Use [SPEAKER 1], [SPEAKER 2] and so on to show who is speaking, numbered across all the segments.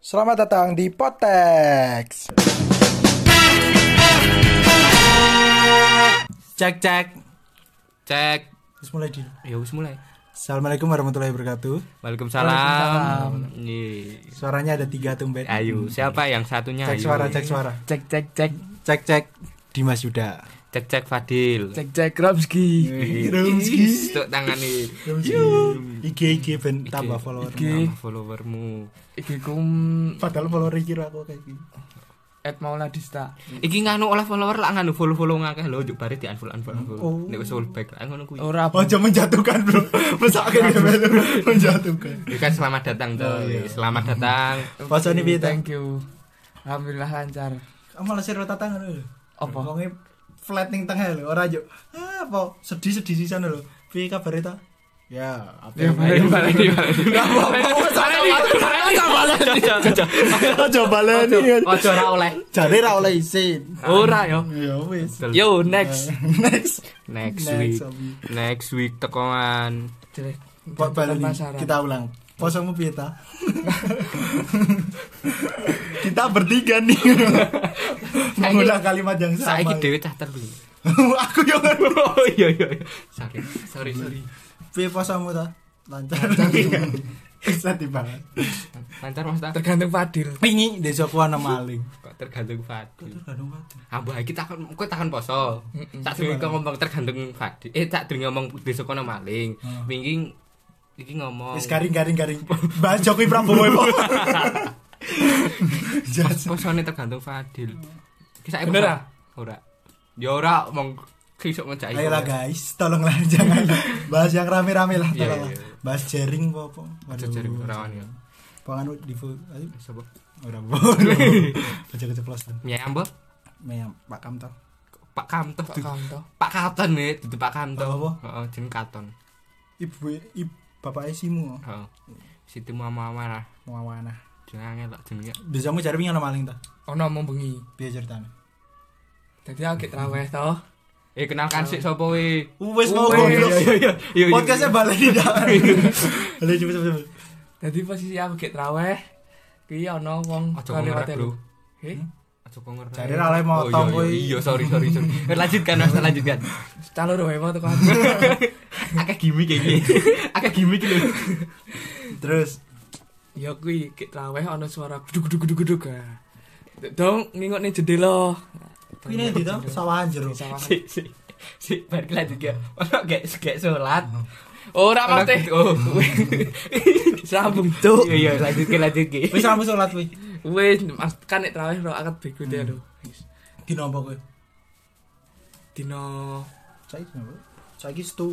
[SPEAKER 1] Selamat datang di Potex.
[SPEAKER 2] Cek cek cek.
[SPEAKER 1] Terus mulai di.
[SPEAKER 2] Ya wis mulai.
[SPEAKER 1] Assalamualaikum warahmatullahi wabarakatuh.
[SPEAKER 2] Waalaikumsalam. Iya.
[SPEAKER 1] Suaranya ada tiga tumben.
[SPEAKER 2] Ayo, siapa yang satunya?
[SPEAKER 1] Cek
[SPEAKER 2] Ayo.
[SPEAKER 1] suara, cek suara.
[SPEAKER 3] cek cek cek
[SPEAKER 1] Cek cek Dimas Yuda.
[SPEAKER 2] Cek cek Fadil.
[SPEAKER 3] cek cek Ramski
[SPEAKER 2] Ih, Tuk tangan nih.
[SPEAKER 1] IG IG ben tambah follower.
[SPEAKER 2] Nama
[SPEAKER 3] Oke.
[SPEAKER 2] followermu.
[SPEAKER 3] iki kum
[SPEAKER 1] Padahal follower kira aku kayak gini.
[SPEAKER 3] at Mauladista
[SPEAKER 2] Iki nganu olah follower lah nganu follow follow ngakeh lo juk bare di unfollow unfollow.
[SPEAKER 1] Oh.
[SPEAKER 2] unfollow. Nek wis all back lah ngono kuwi.
[SPEAKER 3] ora apa
[SPEAKER 1] Ojo menjatuhkan bro. Mesake ya bro. Menjatuhkan.
[SPEAKER 2] Ya kan selamat datang tuh. Selamat datang.
[SPEAKER 1] Pasone piye, Tang?
[SPEAKER 3] thank you alhamdulillah lancar
[SPEAKER 1] Kamu malah siro tatangan lho.
[SPEAKER 3] Apa?
[SPEAKER 1] Wonge flat ning tengah lho, ora yo. Ah, apa? Sedih-sedih sisan lho. Piye kabare ta? Ya, apa?
[SPEAKER 3] ya balik balik balik
[SPEAKER 1] Ojo baleni.
[SPEAKER 2] Ojo ora oleh.
[SPEAKER 1] Jare ra oleh isin.
[SPEAKER 2] Ora yo.
[SPEAKER 1] Ya wis. Nah,
[SPEAKER 2] Yo next.
[SPEAKER 1] Next.
[SPEAKER 2] Next week.
[SPEAKER 1] Next. Abi.
[SPEAKER 2] Next week tekoan.
[SPEAKER 3] jelek
[SPEAKER 1] Pak Baleni,
[SPEAKER 3] Penasaran.
[SPEAKER 1] kita ulang. Posomu piye ta? kita bertiga nih. Mengulang kalimat yang sama.
[SPEAKER 2] Saiki dhewe cah telu.
[SPEAKER 1] Aku yo.
[SPEAKER 2] Oh iya iya. iya. Sorry, sorry, sorry.
[SPEAKER 1] Piye posomu ta? Lancar. Bisa dibanget.
[SPEAKER 2] Lancar Mas ta?
[SPEAKER 3] tergantung Fadil
[SPEAKER 1] Pingi desa kuana maling.
[SPEAKER 2] Kok tergantung Fadil.
[SPEAKER 1] Tergantung banget.
[SPEAKER 2] Ambo iki takon kowe takon poso. Tak durung kok ngomong tergantung Fadil. Eh tak durung ngomong desa kono maling. Wingi iki ngomong.
[SPEAKER 1] Wis garing garing garing. Bahas Jokowi Prabowo. Po. Jas.
[SPEAKER 2] Posone tergantung Fadil. Iki saiki
[SPEAKER 3] Bener,
[SPEAKER 2] poso- Ora. Ya ora mong kisuk ngejak iso.
[SPEAKER 1] Ayolah guys, tolonglah jangan bahas yang rame-rame lah
[SPEAKER 2] Iya,
[SPEAKER 1] tolonglah.
[SPEAKER 2] iya.
[SPEAKER 1] Bahas jaring apa apa.
[SPEAKER 2] Aja jari ora ya.
[SPEAKER 1] Pangan di fu- ayo,
[SPEAKER 2] Sopo?
[SPEAKER 1] ora bodoh. Aja keceplosan.
[SPEAKER 2] Nyam Bo?
[SPEAKER 1] Meyam Pak Kamto.
[SPEAKER 2] Pak Kamto.
[SPEAKER 3] Pak Kamto
[SPEAKER 2] Pak Katon ya, dudu Pak Kamto.
[SPEAKER 1] Apa, apa?
[SPEAKER 2] Heeh, jeneng Katon.
[SPEAKER 1] Ibu ibu bapaknya simu
[SPEAKER 2] Heeh. Siti Oh. mama-mama lah.
[SPEAKER 1] mau awana.
[SPEAKER 2] Jenenge tak jenenge.
[SPEAKER 1] Biasamu cari pingan maling ta.
[SPEAKER 3] ono mau bengi
[SPEAKER 1] Biar ceritane.
[SPEAKER 3] jadi aku kayak terawih toh
[SPEAKER 2] Eh kenalkan sik sapa we?
[SPEAKER 1] Wes mau
[SPEAKER 3] Wes.
[SPEAKER 1] goblok.
[SPEAKER 2] iya. Iya.
[SPEAKER 1] Podcastnya balik di dalam. Balik cepet cepet. cepet.
[SPEAKER 3] jadi posisi aku kayak terawih ki ono wong
[SPEAKER 2] Aja kok ngerek, Bro.
[SPEAKER 3] eh
[SPEAKER 2] Aja kok ngerek.
[SPEAKER 1] Jare ra oleh motong
[SPEAKER 2] Oh, iya,
[SPEAKER 1] kuwi.
[SPEAKER 2] Iya, iya, sorry sorry sorry. Eh, Lanjutkan Mas, lanjutkan.
[SPEAKER 3] calon roh emang tuh
[SPEAKER 2] Akeh gimmick iki. Akeh gimmick lho.
[SPEAKER 1] Terus
[SPEAKER 3] ya kui kayak terawih ono suara guduk guduk guduk guduk ah. dong ngingok nih jendela
[SPEAKER 1] kuwi nek di tau sawahan jero.
[SPEAKER 3] Sawahan.
[SPEAKER 2] Sik sik. Sik, balik lanjut ya. Ono gak gak salat.
[SPEAKER 3] Ora
[SPEAKER 2] Ono-
[SPEAKER 3] mesti
[SPEAKER 2] Oh.
[SPEAKER 3] sambung tuh.
[SPEAKER 2] Iya iya, lanjutkan lanjutkan.
[SPEAKER 1] Wis ramu salat kuwi.
[SPEAKER 3] Wis mas- kan nek traweh ora akad bego
[SPEAKER 2] Hmm.
[SPEAKER 3] dia lho.
[SPEAKER 1] Dino apa kuwi?
[SPEAKER 3] Dino
[SPEAKER 1] Saiki dino apa? Saiki stu.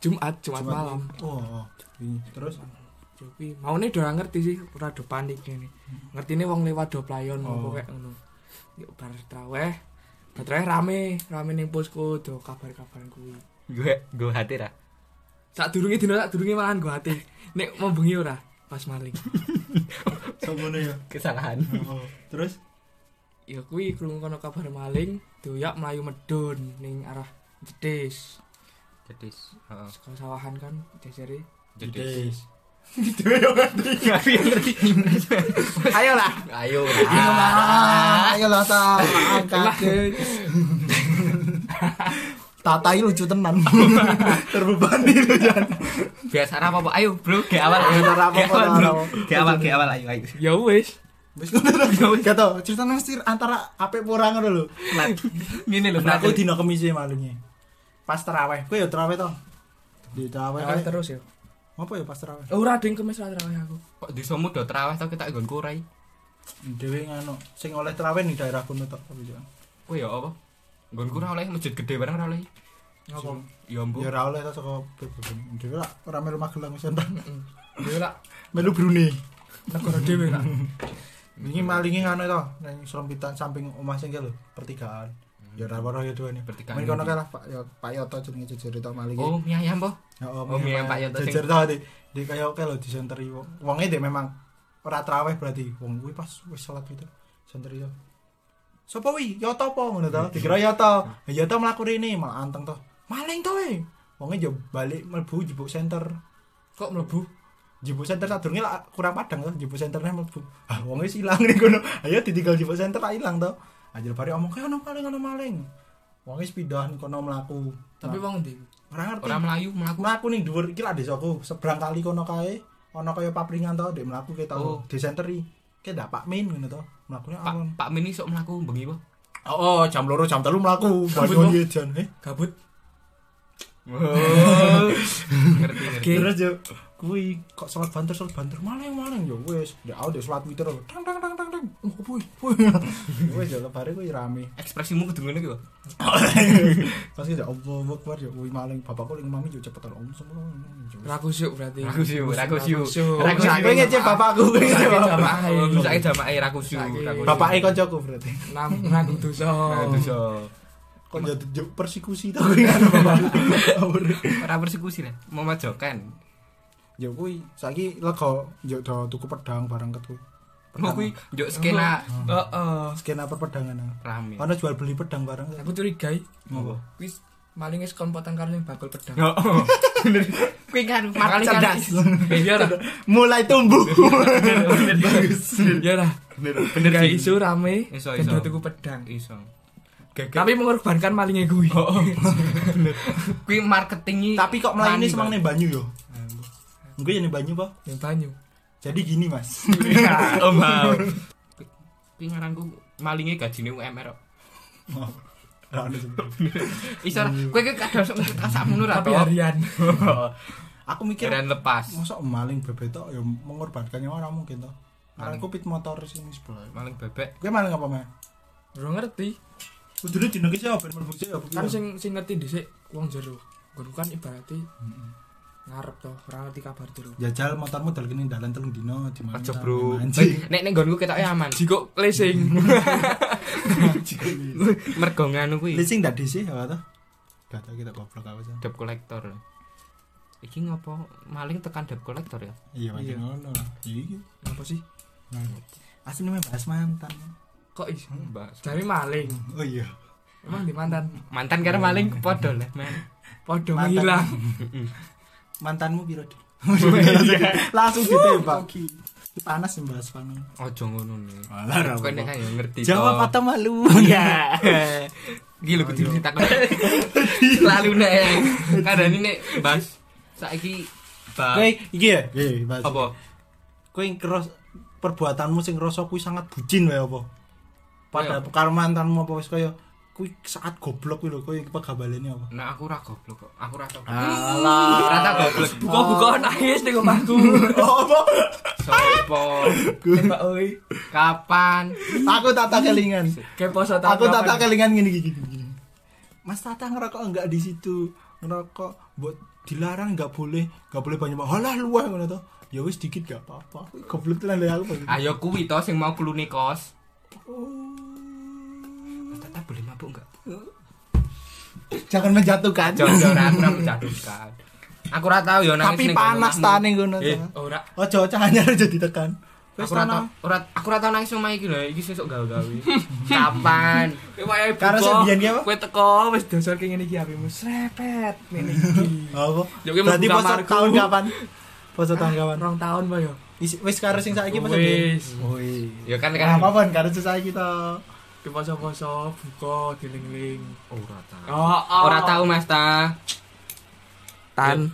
[SPEAKER 3] Jumat, Jumat malam.
[SPEAKER 1] Oh. ini. Terus
[SPEAKER 3] Yo kuwi maune do ora ngerti sih, ora do panik ngene.
[SPEAKER 2] Hmm.
[SPEAKER 3] Ngertine wong lewat do playon
[SPEAKER 1] Oh.
[SPEAKER 3] opo kek ngono. Yo bar traweh. Bar traweh rame, rame ning posko do kabar-kabaran kuwi.
[SPEAKER 2] Gue gue hati ra.
[SPEAKER 3] Sak durunge dino sak durunge malahan gua ati. Nek mau bengi ora pas maling.
[SPEAKER 1] sopono ya.
[SPEAKER 2] Kesalahan.
[SPEAKER 1] Oh. Terus
[SPEAKER 3] ya kuwi krungu kono kabar maling doyak mlayu medun ning arah Jedes
[SPEAKER 2] Jadi heeh.
[SPEAKER 3] saka sawahan kan jajare
[SPEAKER 2] Jadi.
[SPEAKER 1] Gitu ya ngerti.
[SPEAKER 2] Ayo lah.
[SPEAKER 1] Ayo
[SPEAKER 2] Ayo lah.
[SPEAKER 1] lah, Ah, ayo lah ta, angkat. Tatai lucu tenan. Terbebani lu Jan.
[SPEAKER 2] Biasa apa apa? Ayo bro, ke awal.
[SPEAKER 1] Biasa apa-apa,
[SPEAKER 2] Ke awal, bro.
[SPEAKER 1] apa-apa.
[SPEAKER 2] Ke awal, ke awal. Ayo ayo.
[SPEAKER 3] ya wis
[SPEAKER 1] Wis ngono to. Gak tau, cerita mesti antara apik pura ngono lho.
[SPEAKER 2] Ngene lho,
[SPEAKER 1] Aku dino kemis malunge. Pas terawih, kowe ya terawih to. Di terawih
[SPEAKER 3] Terawih
[SPEAKER 1] kayak-
[SPEAKER 3] terus ya
[SPEAKER 1] Apa ya pas terawih?
[SPEAKER 3] ora ding kemis ra terawih aku
[SPEAKER 2] Kok disomu do traweh tau kita nggon kurai.
[SPEAKER 1] Dewe ngano, sing oleh terawih ning daerah kono tok apa ya?
[SPEAKER 2] Kowe ya apa? Nggon kurai oleh masjid gede bareng ora oleh.
[SPEAKER 3] ngopo
[SPEAKER 2] Ya mbu.
[SPEAKER 1] Ya ora oleh to saka Brebes. Dewe lah ora melu Magelang wis entar.
[SPEAKER 3] yo Ya lak
[SPEAKER 1] Melu Brunei.
[SPEAKER 3] negara dhewe lak
[SPEAKER 1] Ini malingi ngono to, nang serempitan samping omah sing ki lho, pertigaan. Ya ora ora ya duwe.
[SPEAKER 2] Hmm.
[SPEAKER 1] Pertigaan.
[SPEAKER 2] Pertigaan
[SPEAKER 1] Mengko
[SPEAKER 2] ndi?
[SPEAKER 1] kalah Pak ya, Pak Yoto jenenge jejere to malingi.
[SPEAKER 2] Oh, mie ayam po.
[SPEAKER 1] Ya
[SPEAKER 2] Oh, mie Pak Yoto sing-
[SPEAKER 1] Jejer to di di kaya oke lho disenteri wong. Wonge dek memang ora traweh berarti wong kuwi pas wis salat gitu. Senteri to. Sopo wi? Yoto apa ngono to? Dikira Yoto. Ya Yoto mlaku rene malah anteng to. Maling to we. Wonge yo balik mlebu jebuk senter.
[SPEAKER 3] kok mlebu
[SPEAKER 1] jebuk center sadurunge lak kurang padang to jebuk centernya mlebu. Ah wong wis ilang ning kono. Ayo ditinggal jebuk center lak ilang to. Anjir bari omong kayak ono maling ono maling. Wong wis pindahan kono mlaku.
[SPEAKER 3] Tapi wong ndi?
[SPEAKER 1] ora ngerti.
[SPEAKER 2] Orang Melayu melaku.
[SPEAKER 1] mlaku ning dhuwur iki lak desaku seberang kali kono kae ana kaya papringan to dek mlaku ke
[SPEAKER 2] Oh.
[SPEAKER 1] tau disenteri ke ndak Pak Min ngono to mlakune
[SPEAKER 2] Pak
[SPEAKER 1] awon
[SPEAKER 2] Pak Mini sok melaku bengi po.
[SPEAKER 1] oh, oh jam loro jam telu mlaku
[SPEAKER 3] Kabut,
[SPEAKER 1] banyu jan eh
[SPEAKER 3] Gabut.
[SPEAKER 2] ngerti ngerti.
[SPEAKER 3] Oke.
[SPEAKER 1] terus yo kuwi kok salat banter salat banter maling maling yo wis ndak aku dek salat Twitter tang tang tang tang tang oh boy boy wis ya, yo lebare kuwi rame
[SPEAKER 2] Ekspresimu kedengen iki po.
[SPEAKER 1] pas ki yo opo wakbar yo kuwi Ya, maling bapakku ling mami yo cepetan om semua Ya,
[SPEAKER 3] Raku syuk berarti.
[SPEAKER 2] Rakusyu, rakusyu.
[SPEAKER 3] Rakusyu.
[SPEAKER 1] Aku
[SPEAKER 2] Rakusyu.
[SPEAKER 1] sakit ngecek bapakku kuwi
[SPEAKER 2] Saiki
[SPEAKER 1] Cek.
[SPEAKER 2] jamaah, saiki Oh, jamaah rakusyu,
[SPEAKER 3] Saiki.
[SPEAKER 2] rakusyu.
[SPEAKER 1] bapake kancaku berarti
[SPEAKER 3] Nam raku dosa.
[SPEAKER 2] Aduh, so.
[SPEAKER 1] kok jadi juk ya persekusi tau kuwi kan bapak
[SPEAKER 2] Ora persekusi lah, memajokan.
[SPEAKER 1] yo kuwi Ya, saiki lego yo do tuku pedang barang ket kuwi
[SPEAKER 2] Mau kuwi njuk skena
[SPEAKER 3] Oh. Heeh.
[SPEAKER 1] skena perpedangan ah.
[SPEAKER 2] rame.
[SPEAKER 1] ana jual beli pedang barang
[SPEAKER 3] Aku curiga
[SPEAKER 1] ngopo
[SPEAKER 3] wis maling wis kompotan karo sing bakul pedang.
[SPEAKER 2] Heeh. Kuwi kan
[SPEAKER 3] Makanya
[SPEAKER 2] maling kan.
[SPEAKER 3] cerdas. Iya lah.
[SPEAKER 1] mulai tumbuh
[SPEAKER 2] Bagus.
[SPEAKER 3] Iya lah.
[SPEAKER 2] Bener
[SPEAKER 3] Bener
[SPEAKER 2] bener
[SPEAKER 3] gak
[SPEAKER 2] sih.
[SPEAKER 3] isu rame.
[SPEAKER 2] Iso,
[SPEAKER 3] ben
[SPEAKER 2] iso. Iya,
[SPEAKER 3] do tuku pedang.
[SPEAKER 2] Iso.
[SPEAKER 3] Tapi mengorbankan malingnya gue.
[SPEAKER 2] Oh, Kuwi marketingi
[SPEAKER 1] tapi kok melayu ini
[SPEAKER 2] Rani,
[SPEAKER 1] semang
[SPEAKER 2] Bang.
[SPEAKER 1] nih banyu yo gue yang nih banyu pak
[SPEAKER 3] Yang banyu.
[SPEAKER 1] jadi gini mas
[SPEAKER 2] Oh, wow. Kuwi ngaranku malinge gajine UMR. kok.
[SPEAKER 1] Maaf. Ra ono sih.
[SPEAKER 2] Iso lah. kuwi kuwi kadang sok ngikut asakmu nur
[SPEAKER 3] Tapi
[SPEAKER 2] atau.
[SPEAKER 3] harian.
[SPEAKER 1] aku mikir
[SPEAKER 2] Keren lepas.
[SPEAKER 1] masa maling bebetok ya mengorbankannya orang mungkin toh karena aku pit motor sini sebelah
[SPEAKER 2] Maling bebek.
[SPEAKER 1] gue maling apa mah
[SPEAKER 3] Ora ngerti.
[SPEAKER 1] udah lu dinaikin siapa ben mlebu sih, apa
[SPEAKER 3] Kan
[SPEAKER 1] gitu.
[SPEAKER 3] sing sing ngerti dhisik wong jero. Guru kan ibaratnya ngarep toh, ora ngerti kabar jero.
[SPEAKER 1] Hmm. jajal motormu dal kene dalan telung dino di mana
[SPEAKER 2] Aja, Bro.
[SPEAKER 1] anjing
[SPEAKER 2] Nek nek nggonku ketoke aman.
[SPEAKER 3] Jiko lesing.
[SPEAKER 2] Mergo nganu kuwi.
[SPEAKER 1] leasing ndak DC apa tuh gak tau kita goblok apa sih
[SPEAKER 2] debt collector iki ngopo maling tekan debt collector ya
[SPEAKER 1] iya
[SPEAKER 3] Iya.
[SPEAKER 1] macam ngono lah iya
[SPEAKER 3] Apa sih?
[SPEAKER 1] asli memang bahas mantan
[SPEAKER 3] Kok is?
[SPEAKER 2] mbak
[SPEAKER 3] Jare maling.
[SPEAKER 1] oh iya
[SPEAKER 3] Emang di mantan.
[SPEAKER 2] mantan karena maling podo lah men
[SPEAKER 3] Podo
[SPEAKER 1] Mantan.
[SPEAKER 3] menghilang.
[SPEAKER 1] mantanmu piro Dit? langsung, langsung ditembak panas sih bahas panas
[SPEAKER 2] ojo ngono nih
[SPEAKER 1] Alah, ra
[SPEAKER 2] kok nek
[SPEAKER 1] apa.
[SPEAKER 2] kan ya ngerti
[SPEAKER 1] jawab
[SPEAKER 2] toh.
[SPEAKER 1] atau malu
[SPEAKER 2] iya gila kudu ditakon selalu nek kadang ini nek bas saiki
[SPEAKER 1] kowe
[SPEAKER 2] bas
[SPEAKER 1] iki ya iya bahas
[SPEAKER 2] apa
[SPEAKER 1] kowe yang keros perbuatanmu sing ngerasa kuwi sangat bucin wae apa pada karo mantanmu apa wis kaya kuwi saat goblok kuwi lho kowe iki pegabalene apa
[SPEAKER 2] nah aku ra goblok kok aku ra goblok
[SPEAKER 1] alah
[SPEAKER 2] ra tak goblok
[SPEAKER 3] Buka-buka nangis di omahku.
[SPEAKER 1] Oh, apa
[SPEAKER 2] sopo
[SPEAKER 3] Tembak oi.
[SPEAKER 2] kapan
[SPEAKER 1] aku tak tak kelingan
[SPEAKER 3] Kepo sota.
[SPEAKER 1] aku tak tak kelingan gini gini gini, gini mas tata ngerokok enggak di situ ngerokok buat dilarang nggak boleh nggak boleh banyak banget halah luah ngono tuh ya wis dikit gak apa-apa Wih, goblok tenan lho aku Pak.
[SPEAKER 2] ayo kuwi to sing mau keluni kos
[SPEAKER 1] Oh.
[SPEAKER 2] tata boleh mabuk enggak
[SPEAKER 1] jangan menjatuhkan
[SPEAKER 2] Jodoh ra aku ra menjatuhkan. Aku ra tau ya nangis
[SPEAKER 1] tapi
[SPEAKER 2] ning
[SPEAKER 1] panas
[SPEAKER 2] kono.
[SPEAKER 1] tane ngono
[SPEAKER 2] Eh,
[SPEAKER 1] tuh
[SPEAKER 3] Ora.
[SPEAKER 1] ojo cahanya aja ditekan wis
[SPEAKER 2] Aku ra
[SPEAKER 1] tanah
[SPEAKER 2] tau, ora aku ra tau nangis omah iki lho, iki sesuk gawe-gawe. Kapan?
[SPEAKER 3] Wae
[SPEAKER 1] Karo sing biyen ki apa?
[SPEAKER 3] Kowe teko wis dosol ki ngene iki HP-mu srepet ngene iki.
[SPEAKER 1] apa
[SPEAKER 3] Ya, oke,
[SPEAKER 1] berarti
[SPEAKER 3] membuka
[SPEAKER 1] poso
[SPEAKER 3] marku.
[SPEAKER 1] tahun kapan poso tahun kapan
[SPEAKER 3] Rong tahun wae yo.
[SPEAKER 1] Isi- wis karo sing saiki poso
[SPEAKER 3] Wis.
[SPEAKER 1] wis
[SPEAKER 2] Ya kan
[SPEAKER 1] Nah,
[SPEAKER 2] kan.
[SPEAKER 1] apa pun karo saiki to
[SPEAKER 3] Diposo-poso buka diling-ling.
[SPEAKER 2] Ora tau.
[SPEAKER 3] Oh,
[SPEAKER 2] Ora tau Mas ta.
[SPEAKER 3] Tan.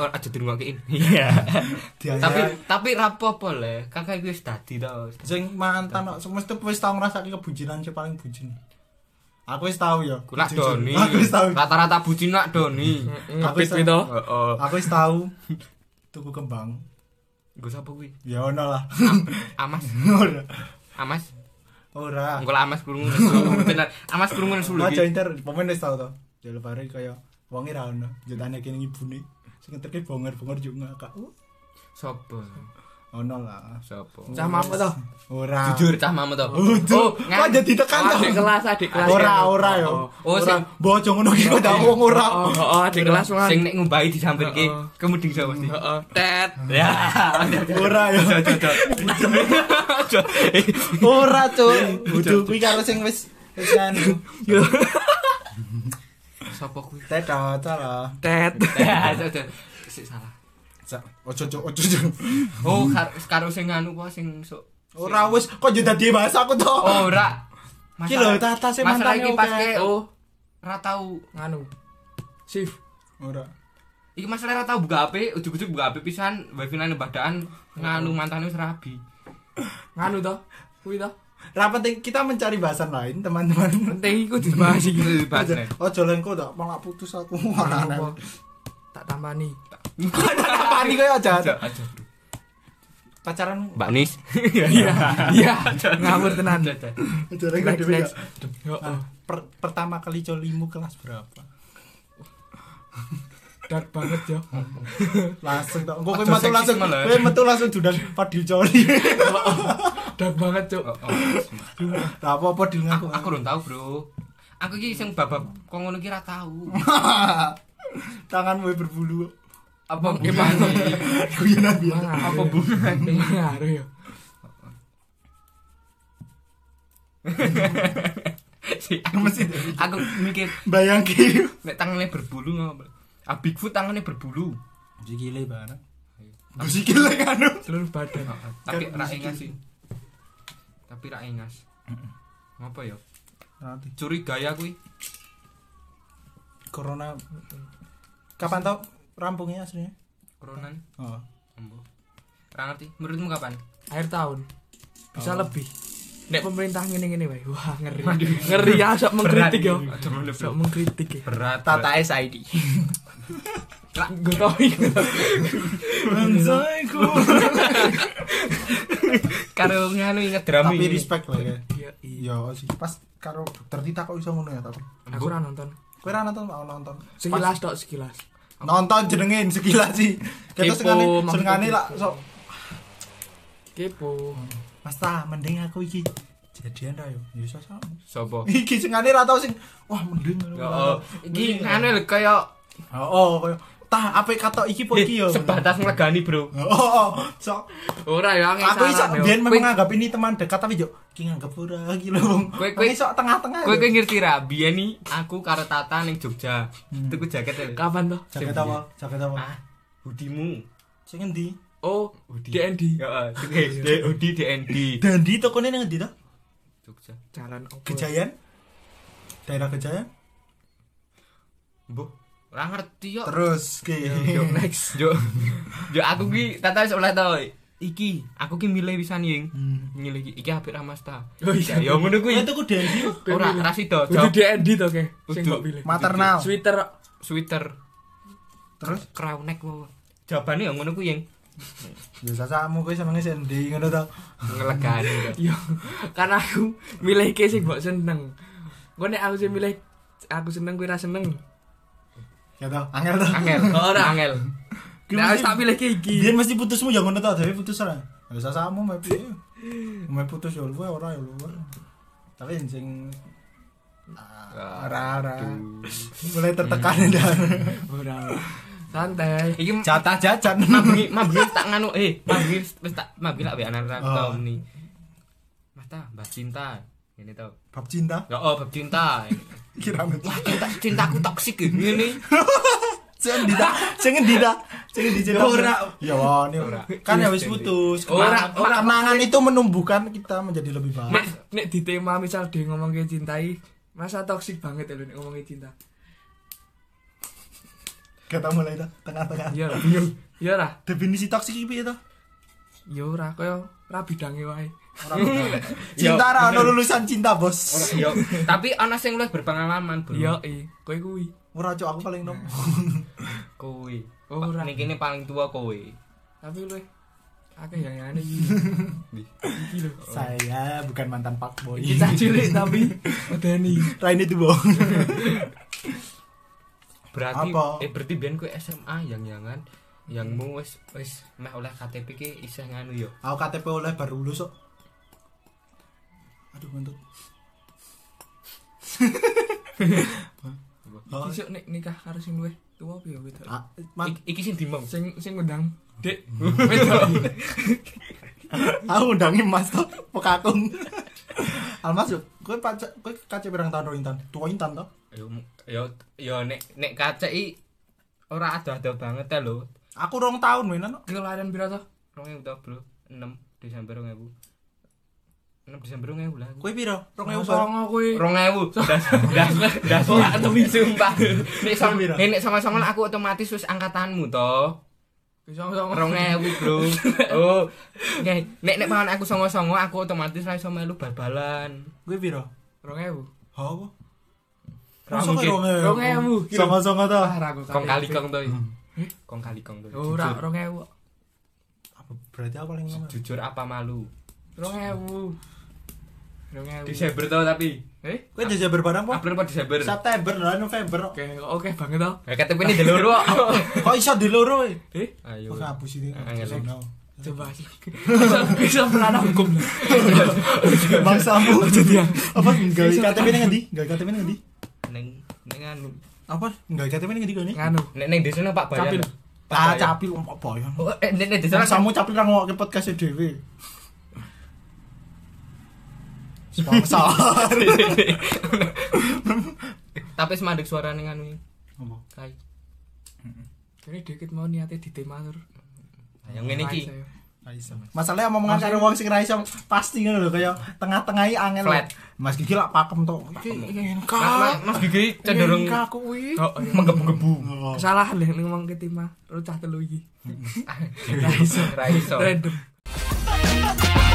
[SPEAKER 2] Ora aja dirungokin. Iya. Tapi
[SPEAKER 1] Dianyar.
[SPEAKER 2] tapi rapopo le, kakak iku wis dadi to.
[SPEAKER 1] sing mantan kok mesti wis tau ngrasake kebucinan sing paling bucin. Aku wis tau ya.
[SPEAKER 2] Kulak
[SPEAKER 1] jujur.
[SPEAKER 2] Doni.
[SPEAKER 1] Aku wis tau.
[SPEAKER 2] Rata-rata bucin nak Doni.
[SPEAKER 1] Aku
[SPEAKER 3] Ngapit
[SPEAKER 1] iso.
[SPEAKER 3] kuwi to.
[SPEAKER 2] Heeh.
[SPEAKER 1] Aku wis tau tuku kembang.
[SPEAKER 2] Gue sapa kuwi?
[SPEAKER 1] Ya ono lah.
[SPEAKER 2] Amas.
[SPEAKER 1] Ora.
[SPEAKER 2] Amas.
[SPEAKER 1] Ora.
[SPEAKER 2] Engko lah Amas krungu nesu. Bener. Amas krungu nesu lho.
[SPEAKER 1] Maca
[SPEAKER 2] iki.
[SPEAKER 1] inter pemain wis tau to. Ya lebare kaya wonge ra ono. Jutane kene ibune. Sing ngeterke bonger-bonger juk ngakak. Uh,
[SPEAKER 2] Sopo?
[SPEAKER 1] Ono lah.
[SPEAKER 2] Sopo?
[SPEAKER 3] Cah mamu to.
[SPEAKER 1] Ora.
[SPEAKER 2] jujur cah mamu to.
[SPEAKER 1] Oh, jujur. Kok
[SPEAKER 2] ngan-
[SPEAKER 1] jadi tekan to?
[SPEAKER 3] Adik kelas, adik kelas.
[SPEAKER 1] Ora ora yo.
[SPEAKER 2] Oh,
[SPEAKER 1] Ora.
[SPEAKER 2] sing-
[SPEAKER 1] Bojo ngono ki kok wong ora.
[SPEAKER 3] Oh, oh, adik kelas wae.
[SPEAKER 2] sing nek ngumbahi disampirke
[SPEAKER 3] Heeh.
[SPEAKER 2] kemuding sapa pasti.
[SPEAKER 3] Heeh. Tet.
[SPEAKER 2] Ya.
[SPEAKER 1] Ora yo. Ora cuk. Kudu kuwi karo sing wis wis anu.
[SPEAKER 2] Sopo kuwi?
[SPEAKER 1] Teh data lah.
[SPEAKER 3] Tet.
[SPEAKER 2] Ya, cocok. sik salah.
[SPEAKER 1] Sa- Ojo ojo ojo. ojo.
[SPEAKER 2] Oh, kar karo sing anu kok sing sok.
[SPEAKER 1] Ora wis kok jadi dadi bahasa aku to.
[SPEAKER 2] Ora.
[SPEAKER 1] Ki lho tata sih
[SPEAKER 2] Oh, masalah
[SPEAKER 1] mantannya
[SPEAKER 2] iki
[SPEAKER 1] oke.
[SPEAKER 2] pas ke oh ora tau
[SPEAKER 3] nganu shift
[SPEAKER 1] Ora.
[SPEAKER 2] Iki masalah ora tau buka HP, ujug-ujug buka HP pisan, wifi nang badan nganu mantannya wis rabi.
[SPEAKER 3] nganu toh kuwi toh
[SPEAKER 1] Ra penting kita mencari bahasan lain teman-teman.
[SPEAKER 3] penting iku dibahas iki
[SPEAKER 2] Iki bahasane.
[SPEAKER 1] Ojo lengko tak malah putus aku. Ora
[SPEAKER 3] Apa? tak tambani
[SPEAKER 1] Pani koyo aja.
[SPEAKER 2] Aja.
[SPEAKER 1] Pacaran
[SPEAKER 2] Mbak Nis.
[SPEAKER 3] iya iya ngawur tenan
[SPEAKER 1] Ojo lengko
[SPEAKER 3] next
[SPEAKER 1] dhewe. ya.
[SPEAKER 3] next yo oh.
[SPEAKER 1] Nah, per- pertama kali colimu kelas berapa?
[SPEAKER 3] dark banget yo
[SPEAKER 1] Langsung tok. Engko kowe
[SPEAKER 2] Aduh,
[SPEAKER 1] metu
[SPEAKER 2] seksisme
[SPEAKER 1] langsung.
[SPEAKER 2] lho ya.
[SPEAKER 1] Kowe metu langsung dudan padil coli.
[SPEAKER 2] Oh,
[SPEAKER 3] dark banget cuk
[SPEAKER 1] Tak apa-apa dil ngaku.
[SPEAKER 2] Aku aku belum tahu, Bro. Aku iki sing babab kok ngono iki ora tau.
[SPEAKER 1] Tangan kowe berbulu.
[SPEAKER 2] Apa
[SPEAKER 3] Emang-
[SPEAKER 2] gimana?
[SPEAKER 1] Guyonan biasa.
[SPEAKER 3] apa bukan ngaruh Iya, yo
[SPEAKER 1] Mesti
[SPEAKER 2] Aku mikir
[SPEAKER 1] bayangke.
[SPEAKER 2] nek tangannya berbulu ngopo. Ah Bigfoot tangannya berbulu.
[SPEAKER 1] Sikile bareng. Gue sikile anu.
[SPEAKER 3] seluruh badan
[SPEAKER 2] Tapi
[SPEAKER 1] Kan
[SPEAKER 2] ra
[SPEAKER 1] musik
[SPEAKER 2] engas
[SPEAKER 1] ini.
[SPEAKER 2] sih. Tapi ra engas. Ngapa ya?
[SPEAKER 1] Nanti
[SPEAKER 2] Curiga ya kuwi.
[SPEAKER 1] corona kapan tau rampungnya aslinya?
[SPEAKER 2] Koronan.
[SPEAKER 1] Oh.
[SPEAKER 2] Embo. Ra ngerti. Menurutmu kapan?
[SPEAKER 3] akhir tahun
[SPEAKER 1] Oh.
[SPEAKER 3] bisa lebih nek pemerintah ngene ngene wae wah ngeri ngeri ya sok mengkritik yo
[SPEAKER 2] Aduh, bener,
[SPEAKER 3] sok
[SPEAKER 2] bro.
[SPEAKER 3] mengkritik ya
[SPEAKER 2] Berat.
[SPEAKER 1] SID.
[SPEAKER 3] gue tau iki
[SPEAKER 1] Anjayku.
[SPEAKER 2] Karo nganu inget drama
[SPEAKER 1] Tapi
[SPEAKER 2] ini.
[SPEAKER 1] respect lah ya.
[SPEAKER 3] Iya, iya.
[SPEAKER 1] Iya sih. Pas karo dokter Tita kok iso ngono ya tapi.
[SPEAKER 3] aku ora nonton
[SPEAKER 1] Kowe ora nonton mau nonton.
[SPEAKER 3] sekilas tok sekilas
[SPEAKER 1] Nonton jenengin sekilas sih. Kita
[SPEAKER 3] Kepo,
[SPEAKER 1] sengane
[SPEAKER 3] maksudnya
[SPEAKER 1] sengane
[SPEAKER 3] kepo.
[SPEAKER 1] lah sok.
[SPEAKER 3] kepo
[SPEAKER 1] Mas ta mending aku iki jadian ra yo. Ya iso sama.
[SPEAKER 2] Sopo?
[SPEAKER 1] Iki sengane ra tau sing wah mending.
[SPEAKER 2] Ya
[SPEAKER 3] oh.
[SPEAKER 2] Allah. Iki nganu lho kaya
[SPEAKER 1] Oh, oh, koyo tah apa kata iki po iki yo.
[SPEAKER 2] sebatas nglegani, Bro.
[SPEAKER 1] Oh, oh, oh, sok.
[SPEAKER 3] ora yo angel
[SPEAKER 1] Aku iso
[SPEAKER 3] saran, yo.
[SPEAKER 1] biyen
[SPEAKER 3] Kowe-
[SPEAKER 1] memang nganggap ini teman dekat tapi yo ki nganggap ora iki lho. Wong.
[SPEAKER 2] Kowe- kowe-
[SPEAKER 1] Kowe iso tengah-tengah.
[SPEAKER 2] Kowe kowe
[SPEAKER 1] yo.
[SPEAKER 2] ngerti ra? Biyen nih aku karo Tata ning Jogja.
[SPEAKER 1] Hmm.
[SPEAKER 2] Tuku jaket e. lho.
[SPEAKER 3] kapan toh
[SPEAKER 1] jaket apa? Jaket apa?
[SPEAKER 2] Ah, hoodimu.
[SPEAKER 1] Sing endi?
[SPEAKER 3] oh DND
[SPEAKER 2] Heeh, sing hoodie DND.
[SPEAKER 1] Dandi tokone nang endi to?
[SPEAKER 2] Jogja.
[SPEAKER 3] jalan opo
[SPEAKER 1] Gejayan. Daerah Gejayan.
[SPEAKER 2] Mbah, ora ngerti yo.
[SPEAKER 1] Terus ki.
[SPEAKER 3] yo next
[SPEAKER 2] Yo. Yo aku ki tata wis oleh to. Iki, aku ki milih pisan ying.
[SPEAKER 1] Hmm.
[SPEAKER 2] Milih iki, iki apik Ramasta.
[SPEAKER 3] Oh, iya.
[SPEAKER 2] Ya ngono
[SPEAKER 1] Kowe
[SPEAKER 2] kuwi.
[SPEAKER 1] tuku Dandi yo.
[SPEAKER 3] Kowe
[SPEAKER 2] Ora
[SPEAKER 3] milih.
[SPEAKER 2] rasido, jawab
[SPEAKER 3] Kudu DND to ke sing
[SPEAKER 2] Kudu.
[SPEAKER 3] kok pilih
[SPEAKER 1] Maternal.
[SPEAKER 3] sweater
[SPEAKER 2] sweater
[SPEAKER 1] Terus
[SPEAKER 2] crown neck wae. Jawabane ya ngono kuwi ying.
[SPEAKER 1] ya sasamu kowe senenge sing endi ngono to.
[SPEAKER 2] Ngelegani. kok.
[SPEAKER 3] yo karena aku milih ke sing mbok seneng gue nek aku sing milih aku seneng kowe ra seneng
[SPEAKER 1] Ya to, angel to.
[SPEAKER 2] Angel.
[SPEAKER 3] Ora.
[SPEAKER 2] Angel.
[SPEAKER 3] nek aku tak milih ke iki
[SPEAKER 1] Biyen mesti putusmu ya ngono to, dhewe putus ora. Ya sasamu mepi. Mau putus yo luwe ora yo luwe. Tapi sing Ah, ora ora. Mulai tertekan dan
[SPEAKER 3] ora ora. santai
[SPEAKER 2] Iki
[SPEAKER 1] jatah jajan.
[SPEAKER 2] mabengi mabengi tak nganu eh mabengi wis tak mabengi lak weanan ra
[SPEAKER 1] Oh.
[SPEAKER 2] tau meni. Mata, Mbah Cinta. Ini tau.
[SPEAKER 1] Bab cinta
[SPEAKER 2] Ya oh, Mbah Cinta.
[SPEAKER 1] kira
[SPEAKER 2] Wah, cinta cintaku toksik ya. Ngene.
[SPEAKER 1] Sing dita, sing dita, sing dicinta.
[SPEAKER 3] Ora.
[SPEAKER 1] Ya wani ora. Kan ya wis putus.
[SPEAKER 3] Ora, ora.
[SPEAKER 1] Kenangan itu menumbuhkan kita menjadi lebih baik.
[SPEAKER 3] nek nek di tema misal dia ngomong ke cintai masa toksik banget ya lu nek ngomongin cinta
[SPEAKER 1] Kita mulai dah tengah-tengah.
[SPEAKER 3] iya lah iya lah
[SPEAKER 1] Definisi toksik iki piye to?
[SPEAKER 3] iya ora koyo ra bidange wae
[SPEAKER 1] Ora
[SPEAKER 3] Ya.
[SPEAKER 1] Cinta ra ono lulusan cinta, Bos.
[SPEAKER 2] Yo, tapi ana sing luwih berpengalaman, Bro.
[SPEAKER 3] iya eh kowe kuwi
[SPEAKER 1] Ora cok aku paling nom.
[SPEAKER 2] kowe.
[SPEAKER 3] Oh,
[SPEAKER 2] Pak,
[SPEAKER 3] ora.
[SPEAKER 2] Ning kene paling tua kowe.
[SPEAKER 3] tapi lu akeh yang aneh iki
[SPEAKER 2] Di.
[SPEAKER 3] iki lho
[SPEAKER 1] Saya bukan mantan Pak Boy.
[SPEAKER 3] kita cilik tapi medeni
[SPEAKER 1] Raine itu bohong.
[SPEAKER 2] Berarti
[SPEAKER 1] Apa?
[SPEAKER 2] eh berarti biyen kowe SMA yang-yangan yang mu wis wis meh oleh KTP ki isih nganu yo.
[SPEAKER 1] Aku KTP oleh baru lulus kok. Aduh ngentut. Oh,
[SPEAKER 3] besok nek nikah karo sing luwih tuwa piye wedok
[SPEAKER 1] ah, man-
[SPEAKER 2] Ik- iki sing dimong.
[SPEAKER 3] sing sing ngundang dek wedok
[SPEAKER 1] aku undangi Mas to, pekakung. Almas yuk, kowe pacar kowe kace pirang tahun ro Intan? Tua Intan to?
[SPEAKER 2] Yo yo yo nek nek KCI ora ada-ada banget ya lho.
[SPEAKER 1] Aku rong tahun mainan.
[SPEAKER 2] Ki kelahiran piro to? 2000 to, Bro. 6 Desember 2000. 6 Desember 2000 lah. aku.
[SPEAKER 1] Kowe piro? Rong ewu
[SPEAKER 3] songo kuwi.
[SPEAKER 2] 2000. Das das das ora temi Oh, sumpah. Nek sama
[SPEAKER 1] Piro?
[SPEAKER 2] eh, nek sama-sama lah aku otomatis wis angkatanmu to.
[SPEAKER 3] Songo-songo.
[SPEAKER 2] 2000, Bro. Oh. Nek nek nek pangan aku songo-songo aku otomatis ra iso melu bal-balan.
[SPEAKER 1] Kowe piro? Ha
[SPEAKER 3] 2000.
[SPEAKER 1] apa?
[SPEAKER 2] Ra
[SPEAKER 1] Masa
[SPEAKER 2] mungkin.
[SPEAKER 1] kowe rong ewu?
[SPEAKER 3] Rong ewu, gila.
[SPEAKER 1] Songo-songo ta.
[SPEAKER 3] Ah, ra aku
[SPEAKER 2] Kong kali kong to. Kong kali kong to.
[SPEAKER 1] Oh,
[SPEAKER 3] Ora
[SPEAKER 2] Jujur.
[SPEAKER 3] 2000.
[SPEAKER 1] Apa berarti aku paling lama?
[SPEAKER 2] Jujur apa malu?
[SPEAKER 3] 2000. 2000.
[SPEAKER 2] Desember to tapi.
[SPEAKER 3] Eh?
[SPEAKER 1] Kowe Desember barang apa?
[SPEAKER 2] April apa Desember?
[SPEAKER 1] September lah November.
[SPEAKER 3] Oke, oke banget tau.
[SPEAKER 2] Ya KTP ini deloro.
[SPEAKER 1] Kok iso diloro e?
[SPEAKER 3] Eh,
[SPEAKER 2] Ayo.
[SPEAKER 1] Kok ngapus ini?
[SPEAKER 2] Angel.
[SPEAKER 3] coba sih. Bisa bisa melana hukum.
[SPEAKER 1] Bangsamu
[SPEAKER 3] Jadi ya.
[SPEAKER 1] apa enggak KTP ini ngendi? Enggak KTP ini ngendi?
[SPEAKER 2] Neng neng anu.
[SPEAKER 1] Apa? Enggak KTP ini ngendi kene?
[SPEAKER 3] Nganu.
[SPEAKER 2] Nek neng desa nang Pak Bayan.
[SPEAKER 3] Capil.
[SPEAKER 2] Pak
[SPEAKER 1] Ah,
[SPEAKER 2] Bayan.
[SPEAKER 1] capil ompok boyo.
[SPEAKER 2] Oh, eh, nek nek desa
[SPEAKER 1] Jangan
[SPEAKER 2] nang
[SPEAKER 1] samu capil ra ngokke podcast dhewe. Sponsor.
[SPEAKER 2] Tapi semandek suara neng anu. Kai.
[SPEAKER 3] Ini dikit mau niatnya di tema tur.
[SPEAKER 2] Ayo ngene iki.
[SPEAKER 3] Ayo.
[SPEAKER 1] Masalahnya omongan karo wong sing ra iso pasti ngono lho kaya tengah-tengahi angel.
[SPEAKER 2] Flat.
[SPEAKER 1] Mas Gigi lak pakem to. Iki NK.
[SPEAKER 2] Mas Mas- Mas Gigi cenderung
[SPEAKER 1] NK aku kuwi.
[SPEAKER 3] Oh, Ah. iya.
[SPEAKER 2] menggebu-gebu.
[SPEAKER 1] Oh.
[SPEAKER 3] Kesalahan deh ngomong ke tema. Lu cah telu iki.
[SPEAKER 2] Raiso. Raiso.
[SPEAKER 3] Random.